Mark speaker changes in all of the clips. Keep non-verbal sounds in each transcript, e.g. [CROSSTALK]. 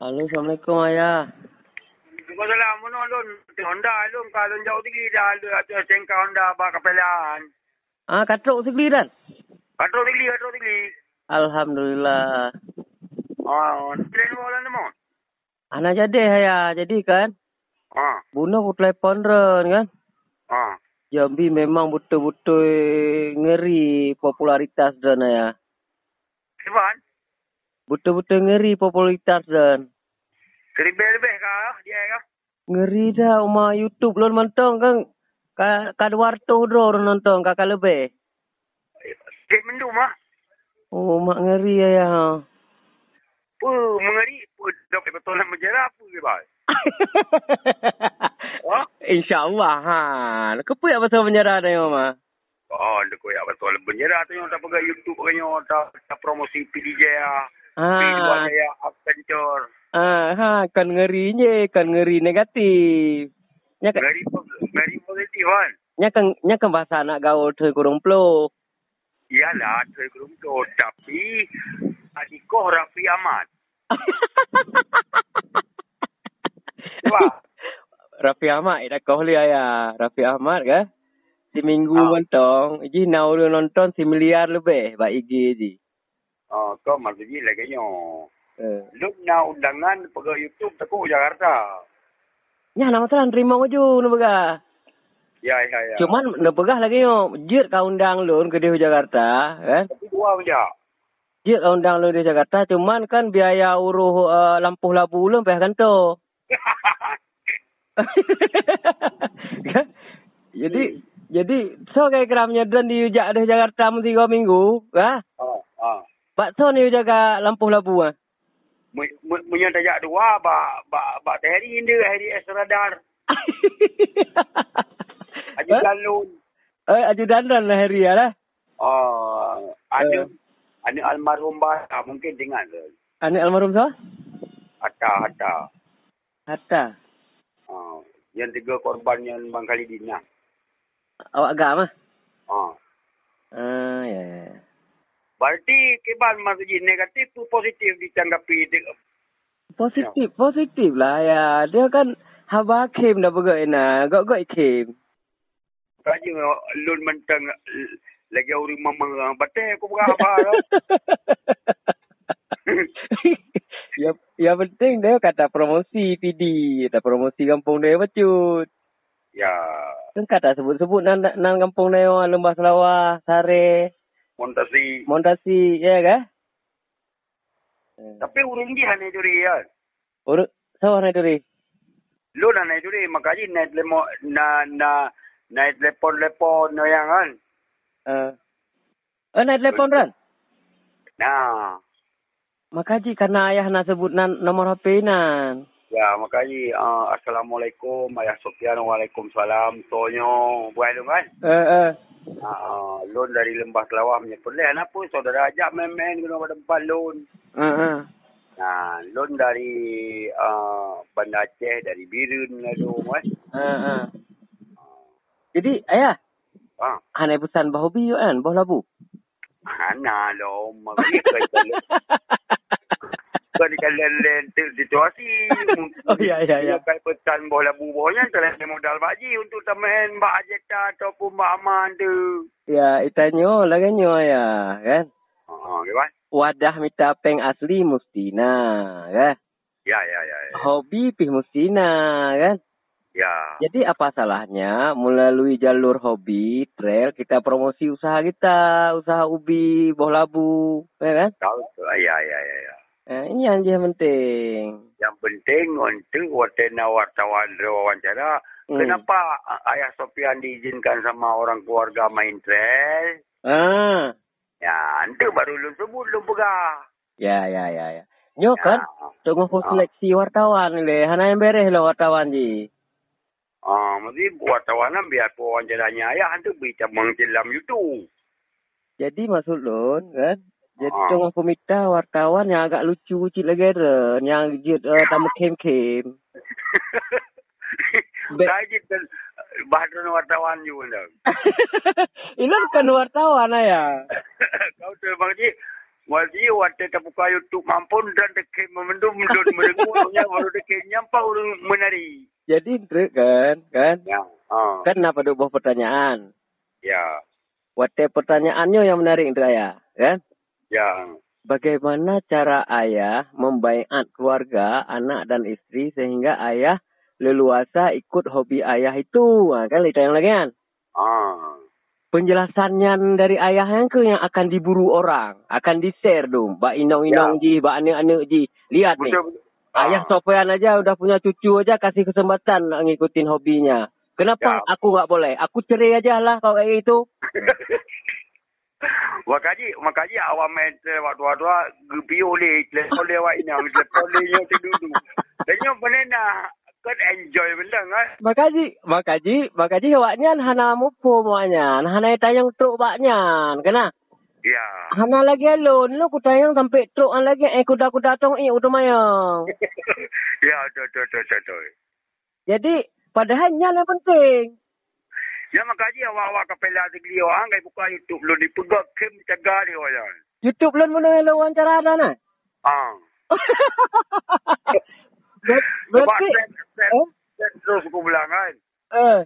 Speaker 1: Assalamualaikum ayah.
Speaker 2: Waalaikumsalam. Mana Alun? Honda Alun. Kau Alun jauh tinggi dah Alun. Atau cengka Honda abang kepelan.
Speaker 1: Ah, katruk sikli dan.
Speaker 2: Katro tinggi, katro tinggi.
Speaker 1: Alhamdulillah.
Speaker 2: Oh, train mau lan mau.
Speaker 1: Anak jadi ayah. Jadi kan,
Speaker 2: Ah,
Speaker 1: bunuh ku telefon ren kan.
Speaker 2: ah.
Speaker 1: Jambi memang betul-betul ngeri popularitas dan ayah.
Speaker 2: Sivan,
Speaker 1: Betul-betul ngeri popularitas dan.
Speaker 2: lebih-lebih kah ah, dia kah?
Speaker 1: Ngeri dah uma YouTube lon mentong kan. Ka kadwarto dro orang nonton kakak lebih.
Speaker 2: Dia mendung mah.
Speaker 1: Oh, mak ngeri ayah.
Speaker 2: Puh, mengeri. Puh, dok betul lah menjara puh dia Ah? bah. Wah.
Speaker 1: [LAUGHS] InsyaAllah ha. Kepa yang pasal menyerah ni mama?
Speaker 2: Oh, dia koyak betul lah menjara tu yang tak pegang YouTube kan yang tak tak promosi PDJ ah. Video
Speaker 1: Ha.
Speaker 2: saya Accenture.
Speaker 1: Ah, ha, kan ngerinya, kan ngeri negatif. Nya kan
Speaker 2: Ngeri ngeri positif kan.
Speaker 1: nya kan nya kan bahasa anak gaul tu kurung plo.
Speaker 2: Iyalah, Troy Grumto. Tapi, adikoh Raffi Ahmad. Wah.
Speaker 1: [LAUGHS] Raffi Ahmad dah kau boleh ayah. Raffi Ahmad ke? Si minggu
Speaker 2: Ah.
Speaker 1: mentong, iji nau dia nonton si miliar lebih baik iji iji.
Speaker 2: Oh, kau maksudnya lah kayaknya.
Speaker 1: Eh.
Speaker 2: Lu nak undangan pergi YouTube tekuk Jakarta.
Speaker 1: Nya nama terang terima waju nak begah.
Speaker 2: Ya, ya, ya.
Speaker 1: Cuman nak begah lagi yo. Jir kau undang lun ke dia Jakarta, kan?
Speaker 2: Tapi dua [LAUGHS] saja.
Speaker 1: Jir kau lah undang lun di Jakarta, cuman kan biaya uruh uh, lampu labu lun payah kan tu.
Speaker 2: Ha,
Speaker 1: Kan? [LAUGHS] jadi jadi so kayak keramnya dan di ujak deh Jakarta mun tiga minggu ah
Speaker 2: oh, oh.
Speaker 1: bakso ni jaga lampu labu ah
Speaker 2: Punya tajak dua, bak, bak, bak Terry ini, Harry S. Radar. Haji
Speaker 1: Eh?
Speaker 2: Galun.
Speaker 1: [LAUGHS] eh ajudan dan lah hari ya lah
Speaker 2: Oh, ada,
Speaker 1: Eh.
Speaker 2: ada almarhum Bahasa. Mungkin dengar. tu.
Speaker 1: anak almarhum so
Speaker 2: Hatta, Hatta.
Speaker 1: hatta
Speaker 2: Oh, yang tiga korban yang Bang Khalidin lah.
Speaker 1: awak agama
Speaker 2: Oh.
Speaker 1: ah ya ya
Speaker 2: Berarti kebal masjid negatif tu positif ditanggapi. de-
Speaker 1: positif positif lah ya dia kan haba kim dah pegak ena gok gok kim
Speaker 2: Raja lun mentang l- lagi orang memerang. Betul aku
Speaker 1: [LAUGHS]
Speaker 2: berapa tau.
Speaker 1: ya ya penting dia kata promosi PD kata promosi kampung dia becut
Speaker 2: Ya,
Speaker 1: Kan kata sebut-sebut nan, nan kampung dia orang Lembah Selawah, Sare,
Speaker 2: montasi.
Speaker 1: Montasi, ya ke? Eh,
Speaker 2: Tapi urung dia naik duri ya.
Speaker 1: Urut sawah ni duri.
Speaker 2: Lun lah naik duri. Makanya naik lemo, na, na, naik lepon-lepon no yang kan.
Speaker 1: Uh. Eh, naik telefon ran.
Speaker 2: Nah,
Speaker 1: Makaji karena ayah nak sebut nan nomor HP nan.
Speaker 2: ya makanya uh, Assalamualaikum, Ayah Sofian, Waalaikumsalam, Tonyo, buat tu kan.
Speaker 1: Eh, eh.
Speaker 2: Ah, loan dari Lembah Kelawar punya plan apa saudara ajak main-main guna pada empat loan.
Speaker 1: Eh, eh.
Speaker 2: Nah, Ah, loan dari uh, Bandar Aceh, dari Birun lalu kan.
Speaker 1: Eh, eh. Jadi, ayah,
Speaker 2: Ah,
Speaker 1: anai pesan bah hobi you kan, bah labu.
Speaker 2: ana lo
Speaker 1: [LAUGHS]
Speaker 2: mari kalau kalau kalau situasi
Speaker 1: [LAUGHS] Oh, ya, ya, ya.
Speaker 2: Kalau pesan bola bubonya telah ada modal baji untuk teman Mbak Ajeta ataupun Mbak Aman tu.
Speaker 1: Ya, itanyo laganyo ayah, kan?
Speaker 2: Ha, ah, okay, kan?
Speaker 1: Wadah mita peng asli mustina, kan?
Speaker 2: Ya, ya, ya. Ya.
Speaker 1: Hobi pih mustina, kan?
Speaker 2: ya.
Speaker 1: Jadi apa salahnya melalui jalur hobi, trail, kita promosi usaha kita, usaha ubi, boh labu, ya kan?
Speaker 2: Tahu tu. Ya, ya, ya, ya.
Speaker 1: Eh, ini yang je penting.
Speaker 2: Yang penting untuk watena wartawan wawancara.
Speaker 1: Hmm.
Speaker 2: Hmm. Kenapa Ayah Sofian diizinkan sama orang keluarga main trail?
Speaker 1: Ah,
Speaker 2: Ya, itu baru lu sebut lu pegah.
Speaker 1: ya, ya, ya, ya. Nyo kan,
Speaker 2: Ya.
Speaker 1: tunggu kau seleksi wartawan ni leh, hana yang beres lah wartawan ji.
Speaker 2: Ah, mesti wartawan lah biar pun wawancaranya ayah tu berita mengcelam YouTube.
Speaker 1: Jadi maksud lon kan, jadi
Speaker 2: Ah.
Speaker 1: tunggu kau minta wartawan yang agak lucu cik lagi ada, yang jid uh, tamu kem-kem. Be-
Speaker 2: Saya kita bahagian wartawan juga [COUGHS] dah.
Speaker 1: Ini bukan wartawan ayah.
Speaker 2: Kau tu bang Cik, Wazir wata terbuka YouTube mampun dan dekat memendum dan
Speaker 1: [LAUGHS]
Speaker 2: merengutnya baru dekat nyampau menari.
Speaker 1: Jadi Dre kan, kan?
Speaker 2: Ya. Ha.
Speaker 1: Kan apa ada buah pertanyaan?
Speaker 2: Ya.
Speaker 1: Wate pertanyaannya yang menarik Dre ya, kan?
Speaker 2: Ya.
Speaker 1: Bagaimana cara ayah membaiat keluarga, anak dan istri sehingga ayah leluasa ikut hobi ayah itu? Ha, kan cerita yang lagi kan?
Speaker 2: Ha.
Speaker 1: Penjelasannya dari ayah yang ke yang akan diburu orang, akan di-share dong. Bak inong-inong ji, bak anak-anak ji. Lihat ni. Ah,
Speaker 2: Ya. Betul betul. Ha.
Speaker 1: Ayah sopean aja udah punya cucu aja kasih kesempatan nak ngikutin hobinya. Kenapa
Speaker 2: Ya.
Speaker 1: aku nggak boleh? Aku cerai aja lah kalau kayak itu.
Speaker 2: Wakaji, [LAUGHS] makaji awak main waktu-waktu gebi oleh telepon lewat ini, telepon lewat itu dulu. Tanya benar nak kan enjoy benda kan?
Speaker 1: Makaji, makaji, makaji awaknya hana mupu muanya. Hana tayang truk baknya. Kena.
Speaker 2: Ya. [LAUGHS]
Speaker 1: Hana lagi alon lu ku tayang sampai truk an lagi eh kuda-kuda tong i utumayang.
Speaker 2: ya, tu tu tu tu tu.
Speaker 1: Jadi padahal nyan yang penting.
Speaker 2: Ya makaji awak-awak kepala tegli orang kai kan? buka YouTube lu dipegak kem cegah dia kan? orang.
Speaker 1: YouTube lon mun lu wawancara kan? ada
Speaker 2: [LAUGHS]
Speaker 1: nah.
Speaker 2: Ah.
Speaker 1: Ber-
Speaker 2: Sebab
Speaker 1: Berarti
Speaker 2: set set
Speaker 1: eh,
Speaker 2: set terus aku bilang kan.
Speaker 1: eh.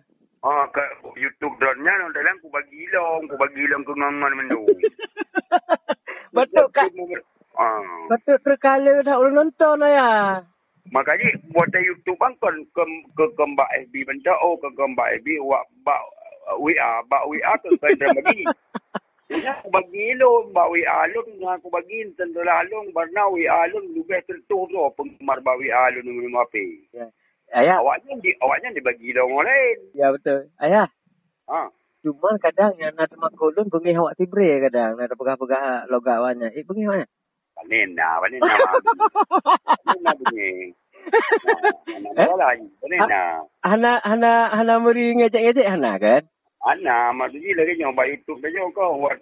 Speaker 2: Ah, kat YouTube drone nya orang dalam aku bagi ilong, aku bagi ilong ke ngangan mendu.
Speaker 1: [LAUGHS] Betul kak.
Speaker 2: Ah.
Speaker 1: Betul terkala dah ulun nonton ya.
Speaker 2: Makanya buat YouTube bang kan ke ke kembak FB benda oh ke kembak FB wak bak uh, WA bak WA ke kan dia bagi. Ya, aku bagi lu bak WA lu dengan aku bagi tentulah lu barna WA lu lebih tertuh tu penggemar bak WA lu ni minum api.
Speaker 1: [LAUGHS] Ayah,
Speaker 2: Awaknya di awaknya dia bagi dia orang lain.
Speaker 1: ya betul. Ayah,
Speaker 2: Ha.
Speaker 1: cuma kadang yang nak temak kolon bengi awak tibre kadang nak ada pegah-pegah logak awaknya. Eh bengi awaknya.
Speaker 2: Panen lah, panen lah.
Speaker 1: [LAUGHS]
Speaker 2: Panen lah bunyi.
Speaker 1: Eh?
Speaker 2: Anak lah, panen lah.
Speaker 1: Hana hana hana meri ngejek-ngejek hana kan?
Speaker 2: Anak, maksudnya lagi yang bak YouTube dia je kau buat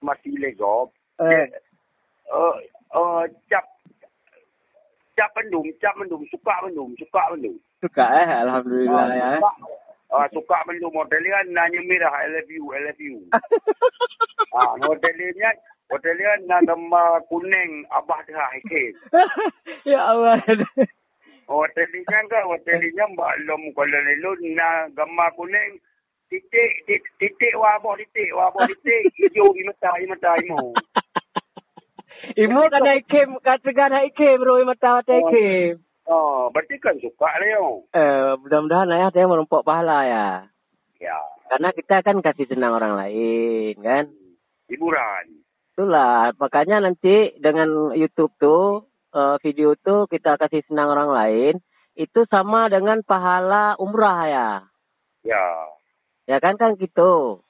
Speaker 2: mati legop.
Speaker 1: Eh,
Speaker 2: uh, uh, cap cap mendung, cap mendung, suka mendung, suka mendung. Ah,
Speaker 1: suka eh alhamdulillah ya. eh.
Speaker 2: suka, uh, suka mendung hotel dia kan nanya merah I love you, I love you.
Speaker 1: [LAUGHS]
Speaker 2: Ah, hotel dia ni, hotel dia kan, nak nama kuning abah ah, dah ikan.
Speaker 1: [LAUGHS] ya Allah. [LAUGHS]
Speaker 2: Hotel dia kan hotel dia mbak lom kalau lelu nak gambar kuning titik titik, titik wabah titik wabah titik hijau di mata di mata imu.
Speaker 1: Ibu kan ikem kata kan ikem roi mata mata ikem.
Speaker 2: Oh, berarti kan suka leo.
Speaker 1: Eh, mudah-mudahan ayah dia merempok pahala ya.
Speaker 2: Ya,
Speaker 1: Karena kita kan kasih senang orang lain kan.
Speaker 2: hiburan.
Speaker 1: Itulah, makanya nanti dengan YouTube tuh, eh, video tuh kita kasih senang orang lain, itu sama dengan pahala umrah ya.
Speaker 2: Ya.
Speaker 1: Ya kan kan gitu.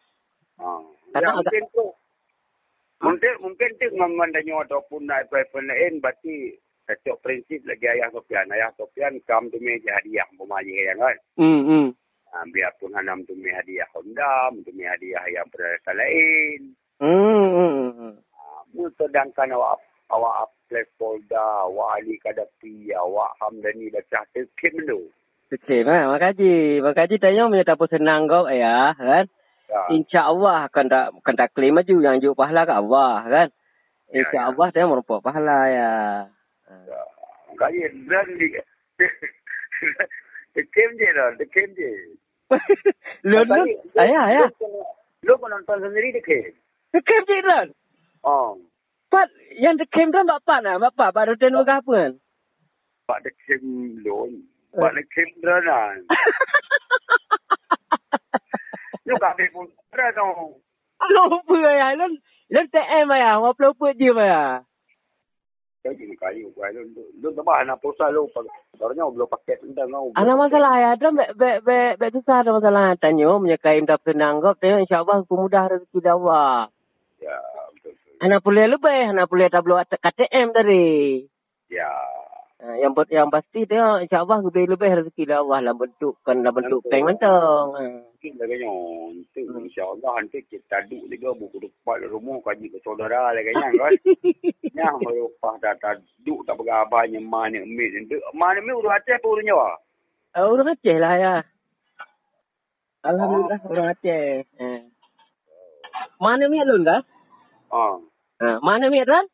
Speaker 2: Ha.
Speaker 1: Kadang
Speaker 2: Ya,
Speaker 1: agak-
Speaker 2: mungkin tu. Mungkin mungkin tu ngangan danyo ataupun nak apa-apa lain berarti setiap prinsip lagi ayah Sofian. Ayah Sofian kam tu meh je hadiah pemaji kan. kan.
Speaker 1: Hmm, hmm.
Speaker 2: Ha, biarpun hanam tu meh hadiah Honda, tu meh hadiah yang berasa lain.
Speaker 1: Hmm, hmm, hmm.
Speaker 2: Ha, mu sedangkan awak awak apply folder, awak Ali Kadapi, awak Hamdani Baca Tekim tu.
Speaker 1: Okey, nah, makaji. Makaji tanya punya tak apa senang kau ya, kan?
Speaker 2: Ya.
Speaker 1: Insya-Allah kan tak kan tak claim maju yang juk pahala ke Allah kan.
Speaker 2: Ya, ya.
Speaker 1: Insya-Allah dia merupakan pahala
Speaker 2: [LAUGHS]
Speaker 1: ya.
Speaker 2: Ya. Kaya dan [LAUGHS] dia. Tekim je lah, tekim je.
Speaker 1: Lun, lun. Ah, ya, Ayah, ayah.
Speaker 2: Lu penonton sendiri dekat.
Speaker 1: Dekem je Ran.
Speaker 2: Oh.
Speaker 1: Pat, yang dekem kan Pak Pat lah. Bapak, Pak Roten Wagah apa
Speaker 2: [LAUGHS]
Speaker 1: kan?
Speaker 2: Pak dekat lon. Pak dekat dranan. Lu kafe pun ada tau.
Speaker 1: Lupa ya. Lun, lun TM ya. Orang pelupa dia ya.
Speaker 2: Jadi kayu kau lu lu- lu tambah anak posa lu Soalnya belum pakai tentang kau.
Speaker 1: Ada masalah ya. Ada be be be be susah ada masalah. Tanya menyekai minta senang kau. Tengok insyaAllah aku mudah rezeki dakwah.
Speaker 2: Ya, betul. betul.
Speaker 1: Anak boleh lebih. Anak boleh tak perlu KTM tadi.
Speaker 2: Ya.
Speaker 1: Ha, yang ber- yang pasti tengok insyaAllah lebih lebih rezeki dakwah lah bentukkan lah bentuk kain mentong. [LAUGHS] Ha.
Speaker 2: Mungkin lah kanya. Nanti insyaAllah nanti kita duduk juga buku depan rumah kaji ke saudara lah kanya kan. Yang berupah dah tak duduk tak bergabahnya mana emit. Mana emit urut hati apa urut nyawa?
Speaker 1: Uh, orang Aceh lah ya. Oh. Ha. Alhamdulillah orang Aceh. Eh. Mana ni alun dah?
Speaker 2: Ah.
Speaker 1: Ha, mana Mik Ran?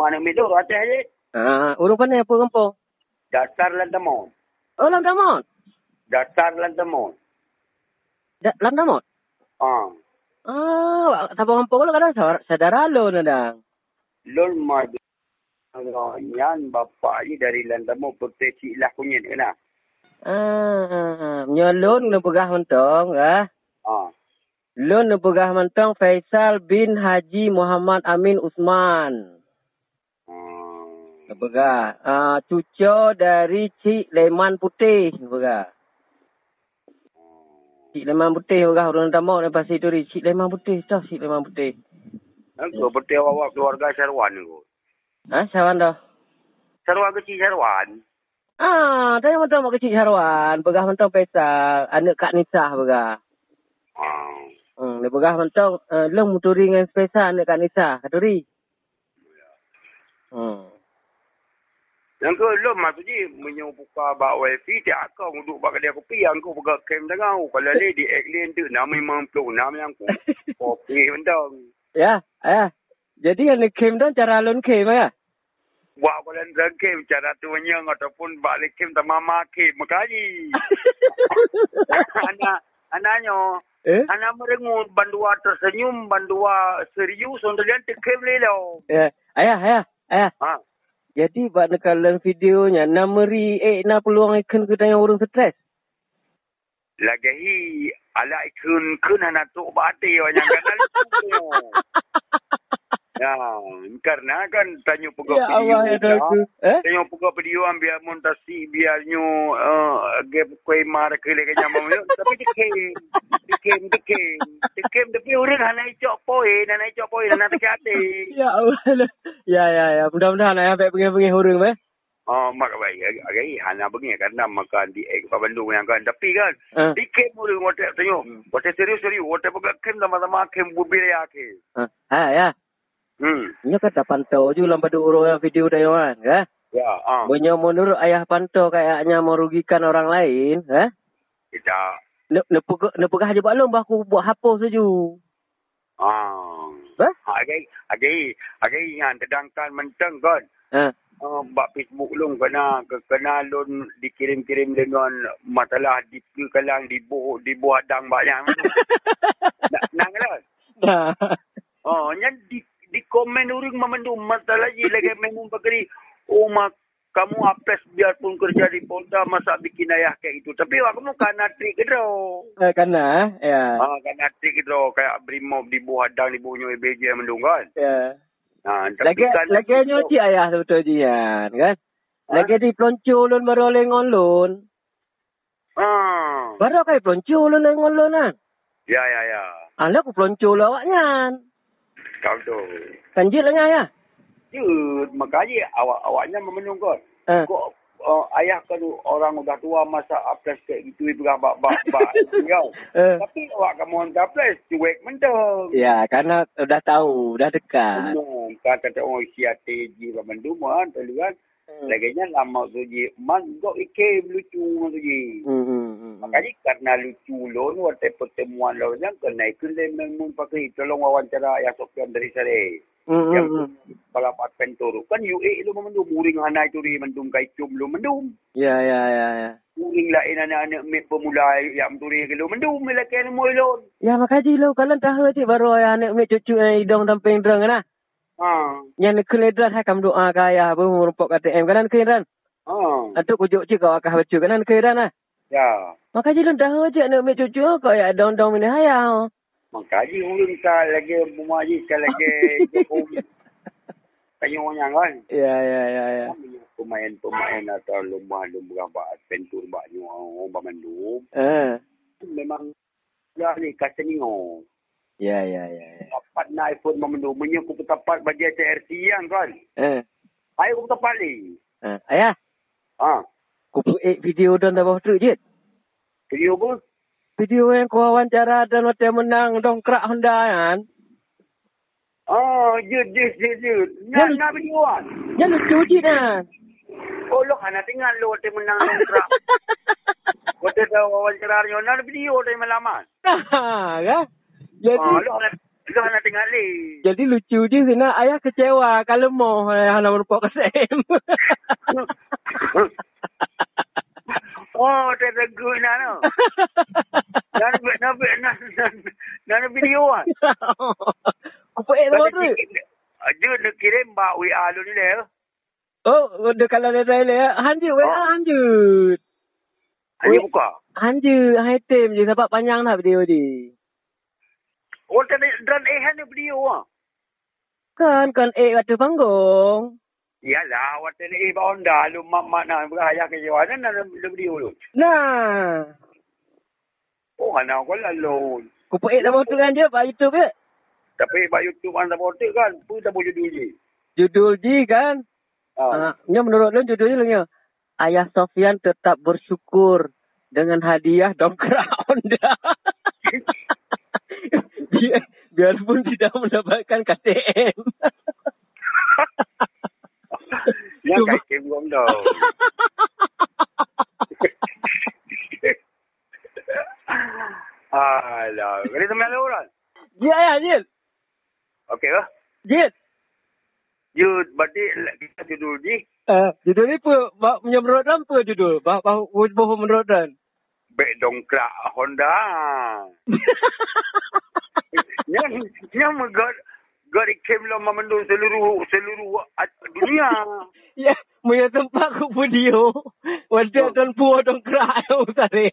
Speaker 2: Mana mitu atas ni?
Speaker 1: Ha, urung pandai apa kampung?
Speaker 2: Dasar lantamon.
Speaker 1: Oh, Lamdamot.
Speaker 2: Dasar lantamon.
Speaker 1: Da, Lamdamot.
Speaker 2: Ah.
Speaker 1: Ah, siapa kampung lu kadang saudara, saudara lu nadang.
Speaker 2: Lol madu. Ngan bapa ni dari lantamon putih cik lah kunyin kena.
Speaker 1: Ah, nyolon lu pegah mentong, ah.
Speaker 2: Ah.
Speaker 1: Lun lu pegah mentong Faisal bin Haji Muhammad Amin Usman.
Speaker 2: Hmm.
Speaker 1: Lu pegah. Ah, cucu dari Cik Leman Putih, lu pegah. Cik Leman Putih pegah urung Lamdamot lepas itu di Cik Leman Putih, tau Cik Leman Putih.
Speaker 2: Aku putih awak keluarga Syarwan ni.
Speaker 1: Ah, siapa dah?
Speaker 2: Syarwan kecil Syarwan.
Speaker 1: Ah, tanya mentong mak kecil Syarwan, pegah mentong Faisal, anak Kak Nisah pegah.
Speaker 2: Ah.
Speaker 1: Hmm, dia pegah mentong uh, long muturi dengan Faisal anak Kak Nisah, katuri. Hmm.
Speaker 2: Yang ke lo maksudnya menyu buka bak wifi tiap kau duduk bak kedai kopi yang kau buka kem tengah kalau ni di alien tu nama memang peluk nama yang
Speaker 1: [LAUGHS]
Speaker 2: aku kopi bentang
Speaker 1: Ya, ya. Jadi yang ni kem dan cara alun kem ya.
Speaker 2: buat kalau dah kem cara tu menyang ataupun bak le kem tak mama
Speaker 1: [LAUGHS]
Speaker 2: kem makali anak anaknya
Speaker 1: eh?
Speaker 2: anak merengut bandua tersenyum bandua serius untuk dia tekem lelo
Speaker 1: Ya, ayah, ayah, ayah.
Speaker 2: lah. ha
Speaker 1: Jadi buat nekalan videonya, nameri eh na peluang ikan ke dengan orang stres.
Speaker 2: lagi hi ala ikun kun anak tu bate yang kenal tu Ya, karena kan tanya pegawai
Speaker 1: ya Allah, ya Tuhanku. Eh?
Speaker 2: Tanya pegawai video ambil montasi biarnya uh, gap koi mar ke le kanya
Speaker 1: [LAUGHS]
Speaker 2: mamu. Tapi tekem, tekem, tekem, tekem. Tapi orang hanya cok poin, hanya cok poin, hanya
Speaker 1: [LAUGHS]
Speaker 2: terkati.
Speaker 1: Ya Allah. Ya, ya, ya. Mudah-mudahan ayah baik pengen-pengen orang eh.
Speaker 2: Oh, mak baik. Hari hanya begini kan nak makan di ek pa Bandung yang kan. Tapi kan,
Speaker 1: Ah. Hmm.
Speaker 2: dikem mulu water tanya. Water serius serius, water pegawai kem sama-sama kem bubir ya ke.
Speaker 1: Ah, ha, ya.
Speaker 2: Hmm.
Speaker 1: Nya kata pantau ju lambat orang yang video dia orang, ya.
Speaker 2: Ya, ah.
Speaker 1: Bunyo menurut ayah pantau kayaknya merugikan orang lain, eh?
Speaker 2: Kita.
Speaker 1: Ne ne pegah ne pegah je buat lomba aku buat hapus saja.
Speaker 2: Ah.
Speaker 1: Eh?
Speaker 2: Agai, agai, agai yang sedangkan menteng kan.
Speaker 1: Ha.
Speaker 2: Uh, bak Facebook lung kena ke- kena lun dikirim-kirim dengan masalah di kalang di buh di buah dang banyak.
Speaker 1: [LAUGHS]
Speaker 2: Nak- Nang lah.
Speaker 1: Dah.
Speaker 2: Oh, nyan di di komen orang memandu masalah je lagi memang pagari. Oh mak kamu apes biarpun kerja di Polda masa bikin ayah kayak itu. Tapi aku mau kena trik ke tau.
Speaker 1: Eh, Kana, eh? ya.
Speaker 2: Ah, kena trik ke tau. Kayak brimob di buah dang di buah nyoy beja mendung kan.
Speaker 1: Ya.
Speaker 2: Ah, tapi
Speaker 1: Lagi
Speaker 2: kan- ha?
Speaker 1: lagi nyuci ayah tu tu jian, kan? Lagi di pelonco lon baru lengon lon.
Speaker 2: Ah.
Speaker 1: Baru kai pelonco lon lengon lon kan.
Speaker 2: Ya, ya, ya.
Speaker 1: Ala aku pelonco lah awak nyan.
Speaker 2: Kau tu.
Speaker 1: Kanjit lah nyan ya.
Speaker 2: Jut, makanya awak-awaknya memenung kot.
Speaker 1: Eh.
Speaker 2: Kok uh, ayah kan orang udah tua masa apres kayak gitu ibu bak bak
Speaker 1: [LAUGHS]
Speaker 2: bak. Kau.
Speaker 1: Eh.
Speaker 2: Tapi awak kamu hantar apres, cuek mendong.
Speaker 1: Ya, karena udah tahu, udah dekat.
Speaker 2: Menung, kata Kan kata orang sia teji pemenduman, tu kan.
Speaker 1: Hmm.
Speaker 2: Laginya lama suji, man kau ikem lucu suji.
Speaker 1: Hmm, hmm, hmm, hmm.
Speaker 2: Makanya karena lucu lon, waktu pertemuan lon yang kena ikut dia memang pakai tolong wawancara ayah Sofian dari Sare.
Speaker 1: Hmm, hmm,
Speaker 2: yang
Speaker 1: hmm.
Speaker 2: balapat pentor kan UA lu memendum muring hanai tu dia mendum kai cum lu mendum
Speaker 1: Ya, ya, ya, ya.
Speaker 2: muring lain anak-anak mit pemula yang tu dia lu mendum melakai ni moilon
Speaker 1: Ya, makaji lo kalau tahu aja baru ayah anak mik cucu yang hidung tamping drang kan. ah.
Speaker 2: ha
Speaker 1: Yang keledran hakam doa ke ayah apa merumpok KTM kanan keledran.
Speaker 2: ha
Speaker 1: Atuk ujuk cik kau akah becu kanan keledran ah.
Speaker 2: ya
Speaker 1: Maka je lun dah je nak ambil cucu kau ya dong dong ni hayau.
Speaker 2: mengkaji uling ka lagi bumaji ka lagi kayu orang kan
Speaker 1: [LAUGHS] Ya ya ya ya.
Speaker 2: pemain-pemain atau lumba-lumba bak pentor bak ni orang bermendum
Speaker 1: Ah.
Speaker 2: memang lah ni kata ni oh
Speaker 1: Ya ya ya. ya.
Speaker 2: dapat nak iPhone memendum punya aku dapat bagi TRC yang kan
Speaker 1: Eh.
Speaker 2: ayo aku dapat ni
Speaker 1: Ah, ayah,
Speaker 2: ha
Speaker 1: ku buat video dan dah tu je.
Speaker 2: Video apa?
Speaker 1: Video yang kau wawancara dan macam menang dongkrak Honda kan.
Speaker 2: Oh, jut, jut, jut, jut. Nak,
Speaker 1: Ya,
Speaker 2: nak video kan?
Speaker 1: Ya lucu je kan.
Speaker 2: Oh, lo kan nak tinggal lo waktu menang
Speaker 1: [LAUGHS]
Speaker 2: kontrak. Ha, Waktu dah wawancara ni, nak video waktu melaman.
Speaker 1: Nah, kan? Jadi
Speaker 2: Oh, lo kan Lah nak tengah leh.
Speaker 1: Jadi lucu je Zina. Ayah kecewa kalau mau eh, ayah nak merupuk KSM.
Speaker 2: Oh, tak ada guna no. Dan nak nak nak nak nak video ah.
Speaker 1: Kupuk eh
Speaker 2: Kalau
Speaker 1: semua tu.
Speaker 2: sikit, Dia nak kirim bak WA lu ni leh.
Speaker 1: Oh, dia kalau dia saya le. eh. Hanjut, weh,
Speaker 2: Oh.
Speaker 1: hanjut.
Speaker 2: Dia
Speaker 1: Weh.
Speaker 2: buka.
Speaker 1: Hanjut, hai tim je sebab panjang lah video ni.
Speaker 2: Oh, tak ada dan eh hanya video ah.
Speaker 1: Kan, kan eh kata panggung.
Speaker 2: Yalah, awak tak ada eh bonda lu mak mak nak berayah ke jawa dan nak nak video lu.
Speaker 1: Nah.
Speaker 2: Oh, anak kau lalu.
Speaker 1: Kupuk eh sama tu kan dia, buat YouTube je.
Speaker 2: Tapi bak YouTube anda botek kan, pun tak boleh dulu.
Speaker 1: Judul dia kan.
Speaker 2: Ah.
Speaker 1: Ah, nya menurut lu judulnya lu nya. Ayah Sofian tetap bersyukur dengan hadiah dongkrak Honda. [LAUGHS] Dia biarpun tidak mendapatkan KTM.
Speaker 2: [LAUGHS] Yang
Speaker 1: Cuma-
Speaker 2: kaki belum dah. [LAUGHS] Alah, kena teman lu orang.
Speaker 1: Dia ayah [LAUGHS] Jil.
Speaker 2: Okey lah.
Speaker 1: Jil.
Speaker 2: You berarti kita tidur di
Speaker 1: Uh, judul ni pun bah, punya menurut dan apa judul? Bah, bah, bah menurut dan.
Speaker 2: bek dongkrak Honda. [LAUGHS] Yang yang megar gar ikim lo memandu lah seluruh seluruh at- dunia.
Speaker 1: ya, punya tempat ku video. Wadah dan puah dongkrak ayah utara.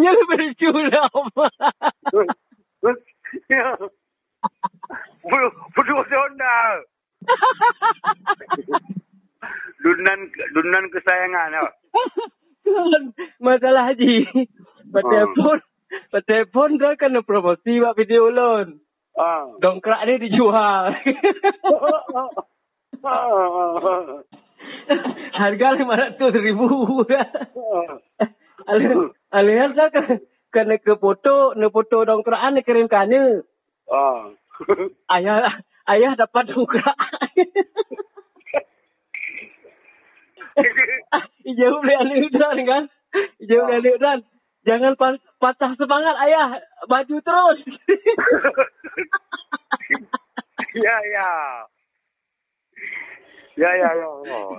Speaker 1: Nya lebih curang.
Speaker 2: Ya. Budu budu Honda. Dunan dunan kesayangan ah.
Speaker 1: Masalah haji. Bertelefon. Bertelefon dah kena promosi buat video loan.
Speaker 2: Ah.
Speaker 1: Dongkrak ni dijual. Harga RM500,000. Alih- Alihan dah kena, kena ke foto. Kena foto dongkrak ni kirim kena.
Speaker 2: Ah. [LAUGHS]
Speaker 1: Ayah ayah dapat dongkrak. Ijau boleh anak udan kan. Ijau boleh anak udan. Jangan pas- patah semangat ayah. Baju terus.
Speaker 2: ya ya. Ya ya ya.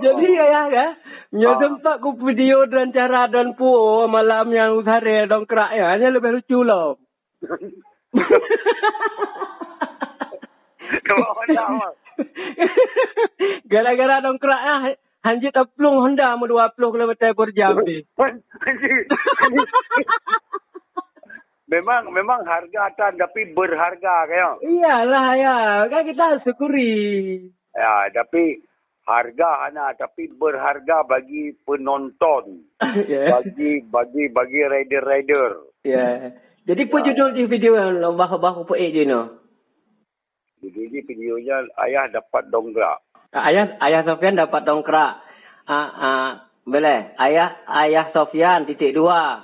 Speaker 1: Jadi ayah ya, nyo
Speaker 2: Ah.
Speaker 1: tempat ku video dan cara dan puo malam yang usare dongkrak ya, hanya lebih lucu lah.
Speaker 2: [LAUGHS] Bawa Honda, Mak.
Speaker 1: [LAUGHS] Gara-gara dongkrak ya, hanjit aplung Honda mu 20 km per jam ni.
Speaker 2: memang memang harga atas tapi berharga kayak.
Speaker 1: Iyalah ya, kan kita syukuri.
Speaker 2: Ya, tapi harga anak tapi berharga bagi penonton,
Speaker 1: ya.
Speaker 2: bagi bagi bagi rider-rider.
Speaker 1: ya. Jadi pun judul di video yang lomba-lomba apa eh je no.
Speaker 2: Jadi videonya ayah dapat dongkrak.
Speaker 1: Ayah ayah Sofian dapat dongkrak. Ah ah boleh. Ayah ayah Sofian titik dua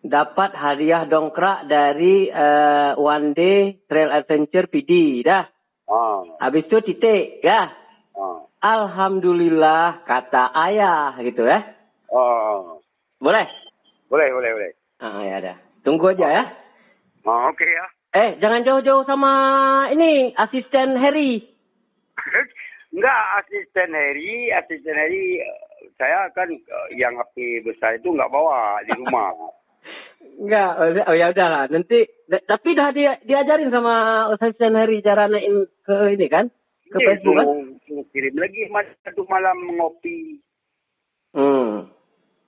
Speaker 1: dapat hadiah dongkrak dari uh, One Day Trail Adventure PD dah.
Speaker 2: Ah,
Speaker 1: Habis tu titik ya.
Speaker 2: ah,
Speaker 1: Alhamdulillah kata ayah gitu ya.
Speaker 2: ah.
Speaker 1: Boleh?
Speaker 2: Boleh, boleh, boleh.
Speaker 1: Ah ya dah. Tunggu aja ya.
Speaker 2: Ah, okey ya.
Speaker 1: Eh jangan jauh-jauh sama ini asisten Harry.
Speaker 2: [LAUGHS] Enggak, asisten Harry, asisten Harry, eh, saya kan eh, yang HP besar itu enggak bawa di rumah.
Speaker 1: Enggak, oh, oh ya udahlah. Nanti da- tapi dah dia diajarin sama asisten Harry cara naikin ke ini kan? Ke
Speaker 2: Dia
Speaker 1: Facebook kan?
Speaker 2: suruh- suruh kirim lagi mas- satu malam ngopi.
Speaker 1: Hmm.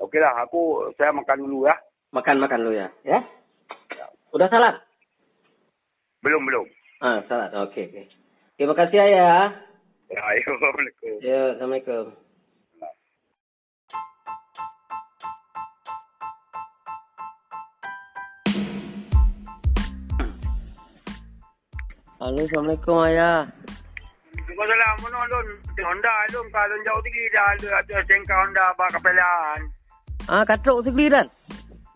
Speaker 2: Okeylah, aku saya makan dulu ya.
Speaker 1: Makan-makan lu ya, ya? Udah salat?
Speaker 2: Belum, belum.
Speaker 1: Ah, salat. Oke, oke. Terima kasih ayah.
Speaker 2: Ya, [LAUGHS] ayo, Assalamualaikum.
Speaker 1: Ya, Assalamualaikum. Halo, Assalamualaikum ayah.
Speaker 2: Waalaikumsalam. Mana Alun? Honda Alun. Kalau Alun jauh tinggi dah Alun. Atau sengka Honda abang kepelan.
Speaker 1: Ah, katrok segli dan.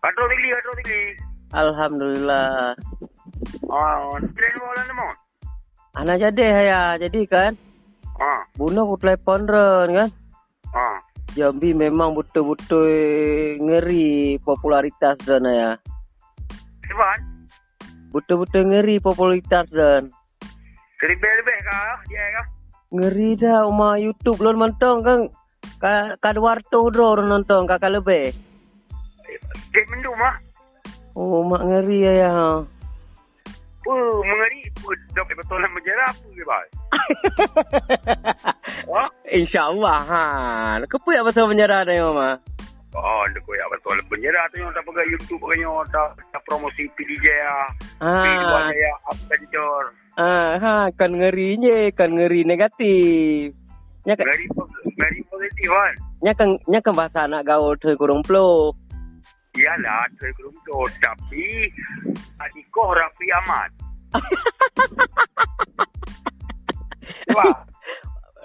Speaker 2: Atau tinggi, atau tinggi.
Speaker 1: Alhamdulillah.
Speaker 2: Ah, train bola ni mon.
Speaker 1: Anak jadi ayah, jadi kan?
Speaker 2: Ah,
Speaker 1: Bunuh ku telefon ren kan.
Speaker 2: ah.
Speaker 1: Jambi memang betul-betul ngeri popularitas dan ya.
Speaker 2: Sebab
Speaker 1: Betul-betul ngeri popularitas dan.
Speaker 2: Lebih-lebih kah dia kah?
Speaker 1: Ngeri dah uma YouTube lon mentong kan. Ka ka luar tu dro orang nonton kakak lebih.
Speaker 2: Dia mendung mah.
Speaker 1: Oh mak ngeri ya ya.
Speaker 2: Puh, mengeri. Puh, dapat betul nak menjara apa ke bai? Ha?
Speaker 1: [LAUGHS] InsyaAllah ha. Kepo ya pasal penjara dah ya mama.
Speaker 2: Oh, dia koyak betul penjara tu yang tak pegang YouTube kan yang tak tak promosi PDJ ah.
Speaker 1: Ha.
Speaker 2: Video saya adventure.
Speaker 1: Ah, ha, kan ngeri je, kan ngeri negatif. Nya kan,
Speaker 2: Very pos- very positive kan.
Speaker 1: nya kan, nya kan bahasa anak gaul tu kurung plo.
Speaker 2: Iyalah, saya belum tahu. Tapi, adikoh Rafi Ahmad.
Speaker 1: [LAUGHS]
Speaker 2: Wah,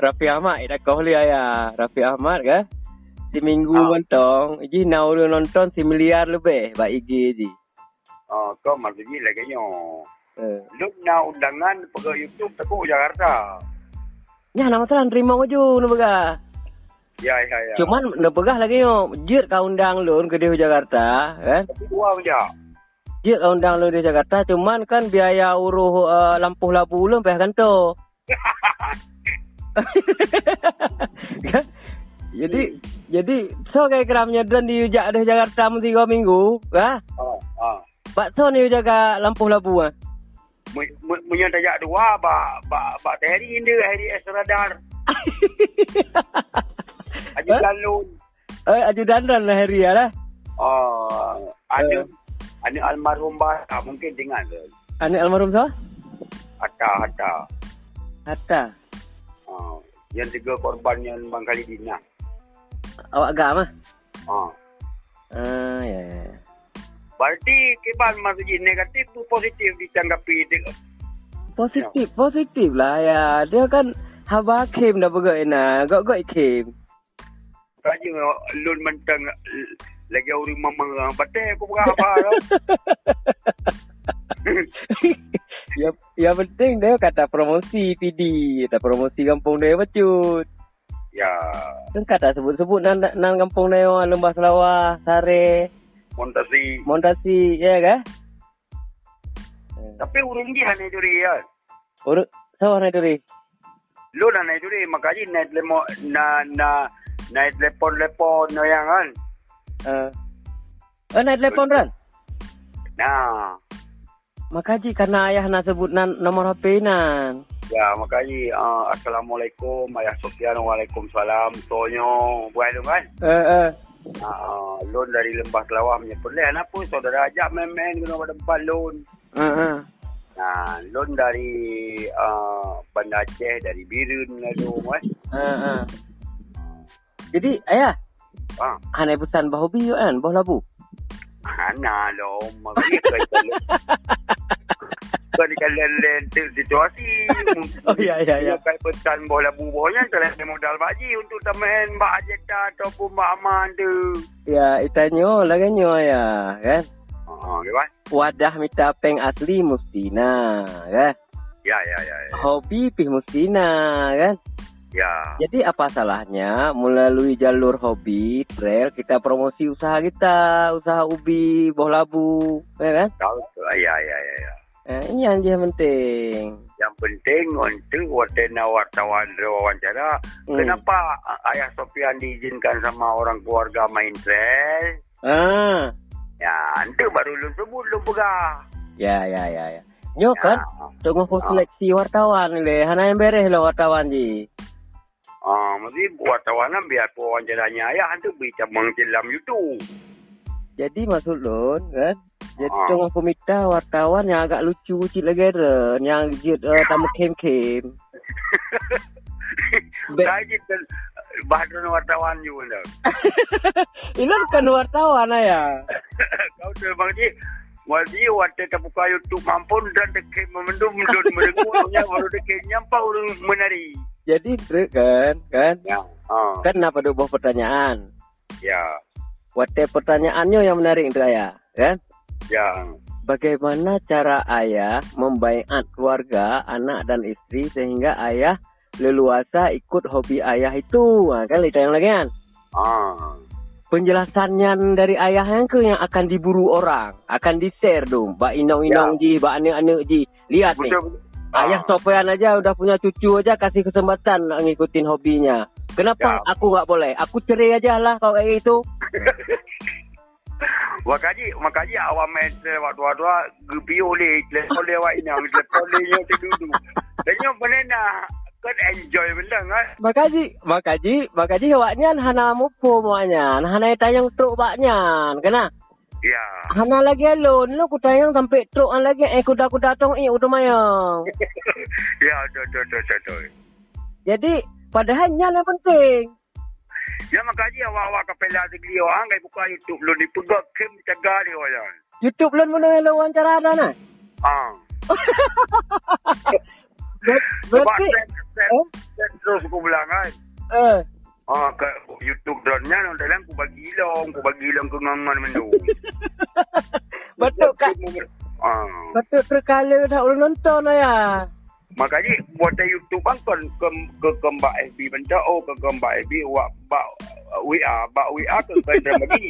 Speaker 1: Rafi Ahmad eh, dah kau lihat ya. Rafi Ahmad ke? Si minggu
Speaker 2: Ah.
Speaker 1: mentong, ji nau dia nonton si miliar lebih bak IG ji.
Speaker 2: oh, kau masih gila kayaknya.
Speaker 1: Eh.
Speaker 2: Lu nak undangan pergi YouTube tekuk Jakarta.
Speaker 1: Nya nama tu terima waju nak begah.
Speaker 2: Ya, ya, ya.
Speaker 1: Cuman nak begah lagi yo. Jir kau undang lun ke dia Jakarta, kan?
Speaker 2: Tapi dua saja.
Speaker 1: Jir kau undang lun di Jakarta, cuman kan biaya uruh uh, lampu labu lun payah kantor. Kan? jadi jadi so kayak keramnya dan di ujak ada Jakarta mun tiga minggu ah
Speaker 2: Oh, ah.
Speaker 1: bakso ni jaga lampu labu ah
Speaker 2: Punya tajak dua, bak, bak, bak Terry ni, Harry S. Radar. Haji
Speaker 1: Eh?
Speaker 2: Galun.
Speaker 1: [LAUGHS] eh ajudan dan lah hari lah
Speaker 2: Oh, ada,
Speaker 1: Eh.
Speaker 2: ada almarhum Bahasa. Mungkin dengar ke?
Speaker 1: anak almarhum so
Speaker 2: Hatta, Hatta.
Speaker 1: hatta
Speaker 2: Ah, yang tiga korban yang Bang Khalidina.
Speaker 1: awak agak mah
Speaker 2: Ah.
Speaker 1: ah ya ya
Speaker 2: Berarti kibar masjid negatif tu positif ditanggapi dengan
Speaker 1: positif positif lah ya dia kan haba kem dah begak ina gok gok kem
Speaker 2: raja lun mentang l- lagi orang mama batai aku berapa
Speaker 1: [LAUGHS]
Speaker 2: lah.
Speaker 1: ya yang penting dia kata promosi PD kata promosi kampung dia pecut
Speaker 2: ya,
Speaker 1: Kan kata sebut-sebut nan, nan kampung dia orang Lembah Selawah, Sare,
Speaker 2: montasi.
Speaker 1: Montasi, ya ke?
Speaker 2: Tapi urung dia ni juri ya.
Speaker 1: Urut sawah nak duri.
Speaker 2: Lun lah ni juri makanya naik lemo na na naik lepon lepon no yang kan.
Speaker 1: Uh. Eh, nak telefon Ran?
Speaker 2: Nah,
Speaker 1: Makaji karena ayah nak sebut nan nomor HP nan.
Speaker 2: ya makanya uh, assalamualaikum, ayah Sofian, waalaikumsalam, Tonyo, buat tu kan.
Speaker 1: Eh, eh.
Speaker 2: Ah, loan dari Lembah Kelawar punya plan apa saudara ajak main-main kena pada depan loan.
Speaker 1: Eh, eh.
Speaker 2: Nah, loan dari uh, Bandar Aceh, dari Birun lalu kan.
Speaker 1: Eh, eh. Jadi, ayah,
Speaker 2: Ha.
Speaker 1: hanai pesan bah hobi you kan, bah labu.
Speaker 2: Ana lo, mari kita lo. Kau ni kalian lain tu situasi.
Speaker 1: Oh, ya, ya, ya.
Speaker 2: Kau pesan bola bubuhnya, kalian ada lah modal baji untuk teman Mbak Ajeta ataupun Mbak Aman tu.
Speaker 1: Ya, itanyo laganyo ayah, kan?
Speaker 2: Ah, okay, kan?
Speaker 1: Wadah mita peng asli mustina, kan?
Speaker 2: Ya, ya, ya. ya.
Speaker 1: Hobi pih mustina, kan?
Speaker 2: Ya.
Speaker 1: Jadi apa salahnya melalui jalur hobi trail kita promosi usaha kita, usaha ubi, boh labu, ya kan?
Speaker 2: Tahu tu. Ah, Ya, ya, ya, ya.
Speaker 1: Eh, ini yang dia penting.
Speaker 2: Yang penting untuk wacana wartawan wawancara.
Speaker 1: Hmm.
Speaker 2: Kenapa Ayah Sofian diizinkan sama orang keluarga main trail?
Speaker 1: Ah,
Speaker 2: Ya, itu baru lu sebut lu pegah.
Speaker 1: ya ya ya ya. Nyo kan,
Speaker 2: Ya.
Speaker 1: untuk ngumpul seleksi wartawan ni leh, hana yang beres lah wartawan ji.
Speaker 2: Ah, mesti wartawan lah biar wawancaranya ayah tu berita mengcelam YouTube.
Speaker 1: Jadi maksud lon kan, jadi
Speaker 2: Ah.
Speaker 1: tengok pemita wartawan yang agak lucu cik lagi ada, yang jid uh, tamu kem-kem. Be-
Speaker 2: Saya kita bahagian wartawan juga. tau.
Speaker 1: Ini bukan wartawan ayah.
Speaker 2: Kau tu bang Ji, Wajib wate terbuka YouTube mampun dan dekat memendum mendun mendengarnya baru dekat nyampau orang menari.
Speaker 1: Jadi dre- kan, kan.
Speaker 2: Ya. Ah,
Speaker 1: Kan kenapa ada buah pertanyaan?
Speaker 2: ya.
Speaker 1: Wate pertanyaannya yang menarik untuk ayah, kan?
Speaker 2: Ya.
Speaker 1: Bagaimana cara ayah membaiat keluarga, anak dan istri sehingga ayah leluasa ikut hobi ayah itu? Ha, kan cerita yang lagi kan?
Speaker 2: Ah.
Speaker 1: penjelasannya dari ayah yang ke yang akan diburu orang, akan di-share dong. Bak inong-inong
Speaker 2: Ya.
Speaker 1: ji, bak anak-anak ji. Lihat ni. Eh,
Speaker 2: Betul.
Speaker 1: Ayah Sofian aja udah punya cucu aja kasih kesempatan nak ngikutin hobinya. Kenapa
Speaker 2: Ya.
Speaker 1: aku nggak boleh? Aku cerai aja lah kalau kayak itu.
Speaker 2: Ha. Wakaji, makaji awak main waktu-waktu gebi oleh telefon lewat ini, telefon lewat itu dulu. Tanya boleh nak kan enjoy benda kan?
Speaker 1: Makaji, makaji, makaji awaknya hana mupo muanya. Hana tayang truk baknya. Kena.
Speaker 2: Ya. [LAUGHS]
Speaker 1: Hana lagi alon lu ku tayang sampai truk an lagi eh kuda-kuda tong i udah mayang. [LAUGHS]
Speaker 2: ya, tu tu tu tu tu.
Speaker 1: Jadi padahal nyan yang penting.
Speaker 2: Ya makaji awak-awak kepala segeli orang kai buka YouTube lu ni pegang kem cegah dia ya. orang.
Speaker 1: YouTube lon mana lu wawancara ada nah.
Speaker 2: Ah.
Speaker 1: Ber-
Speaker 2: Sebab
Speaker 1: Berarti
Speaker 2: set set
Speaker 1: eh?
Speaker 2: set terus aku bilang kan.
Speaker 1: eh
Speaker 2: Ah, kat YouTube drone-nya dalam aku bagi long, aku bagi long ke ngangan mendu.
Speaker 1: [LAUGHS] betul kak.
Speaker 2: Ah.
Speaker 1: Betul terkala dah ulun nonton ayah.
Speaker 2: Makanya buat YouTube bang kan ke ke kembak FB benda oh ke kembak FB wak bak WA bak WA ke kan
Speaker 1: [LAUGHS]
Speaker 2: dia bagi.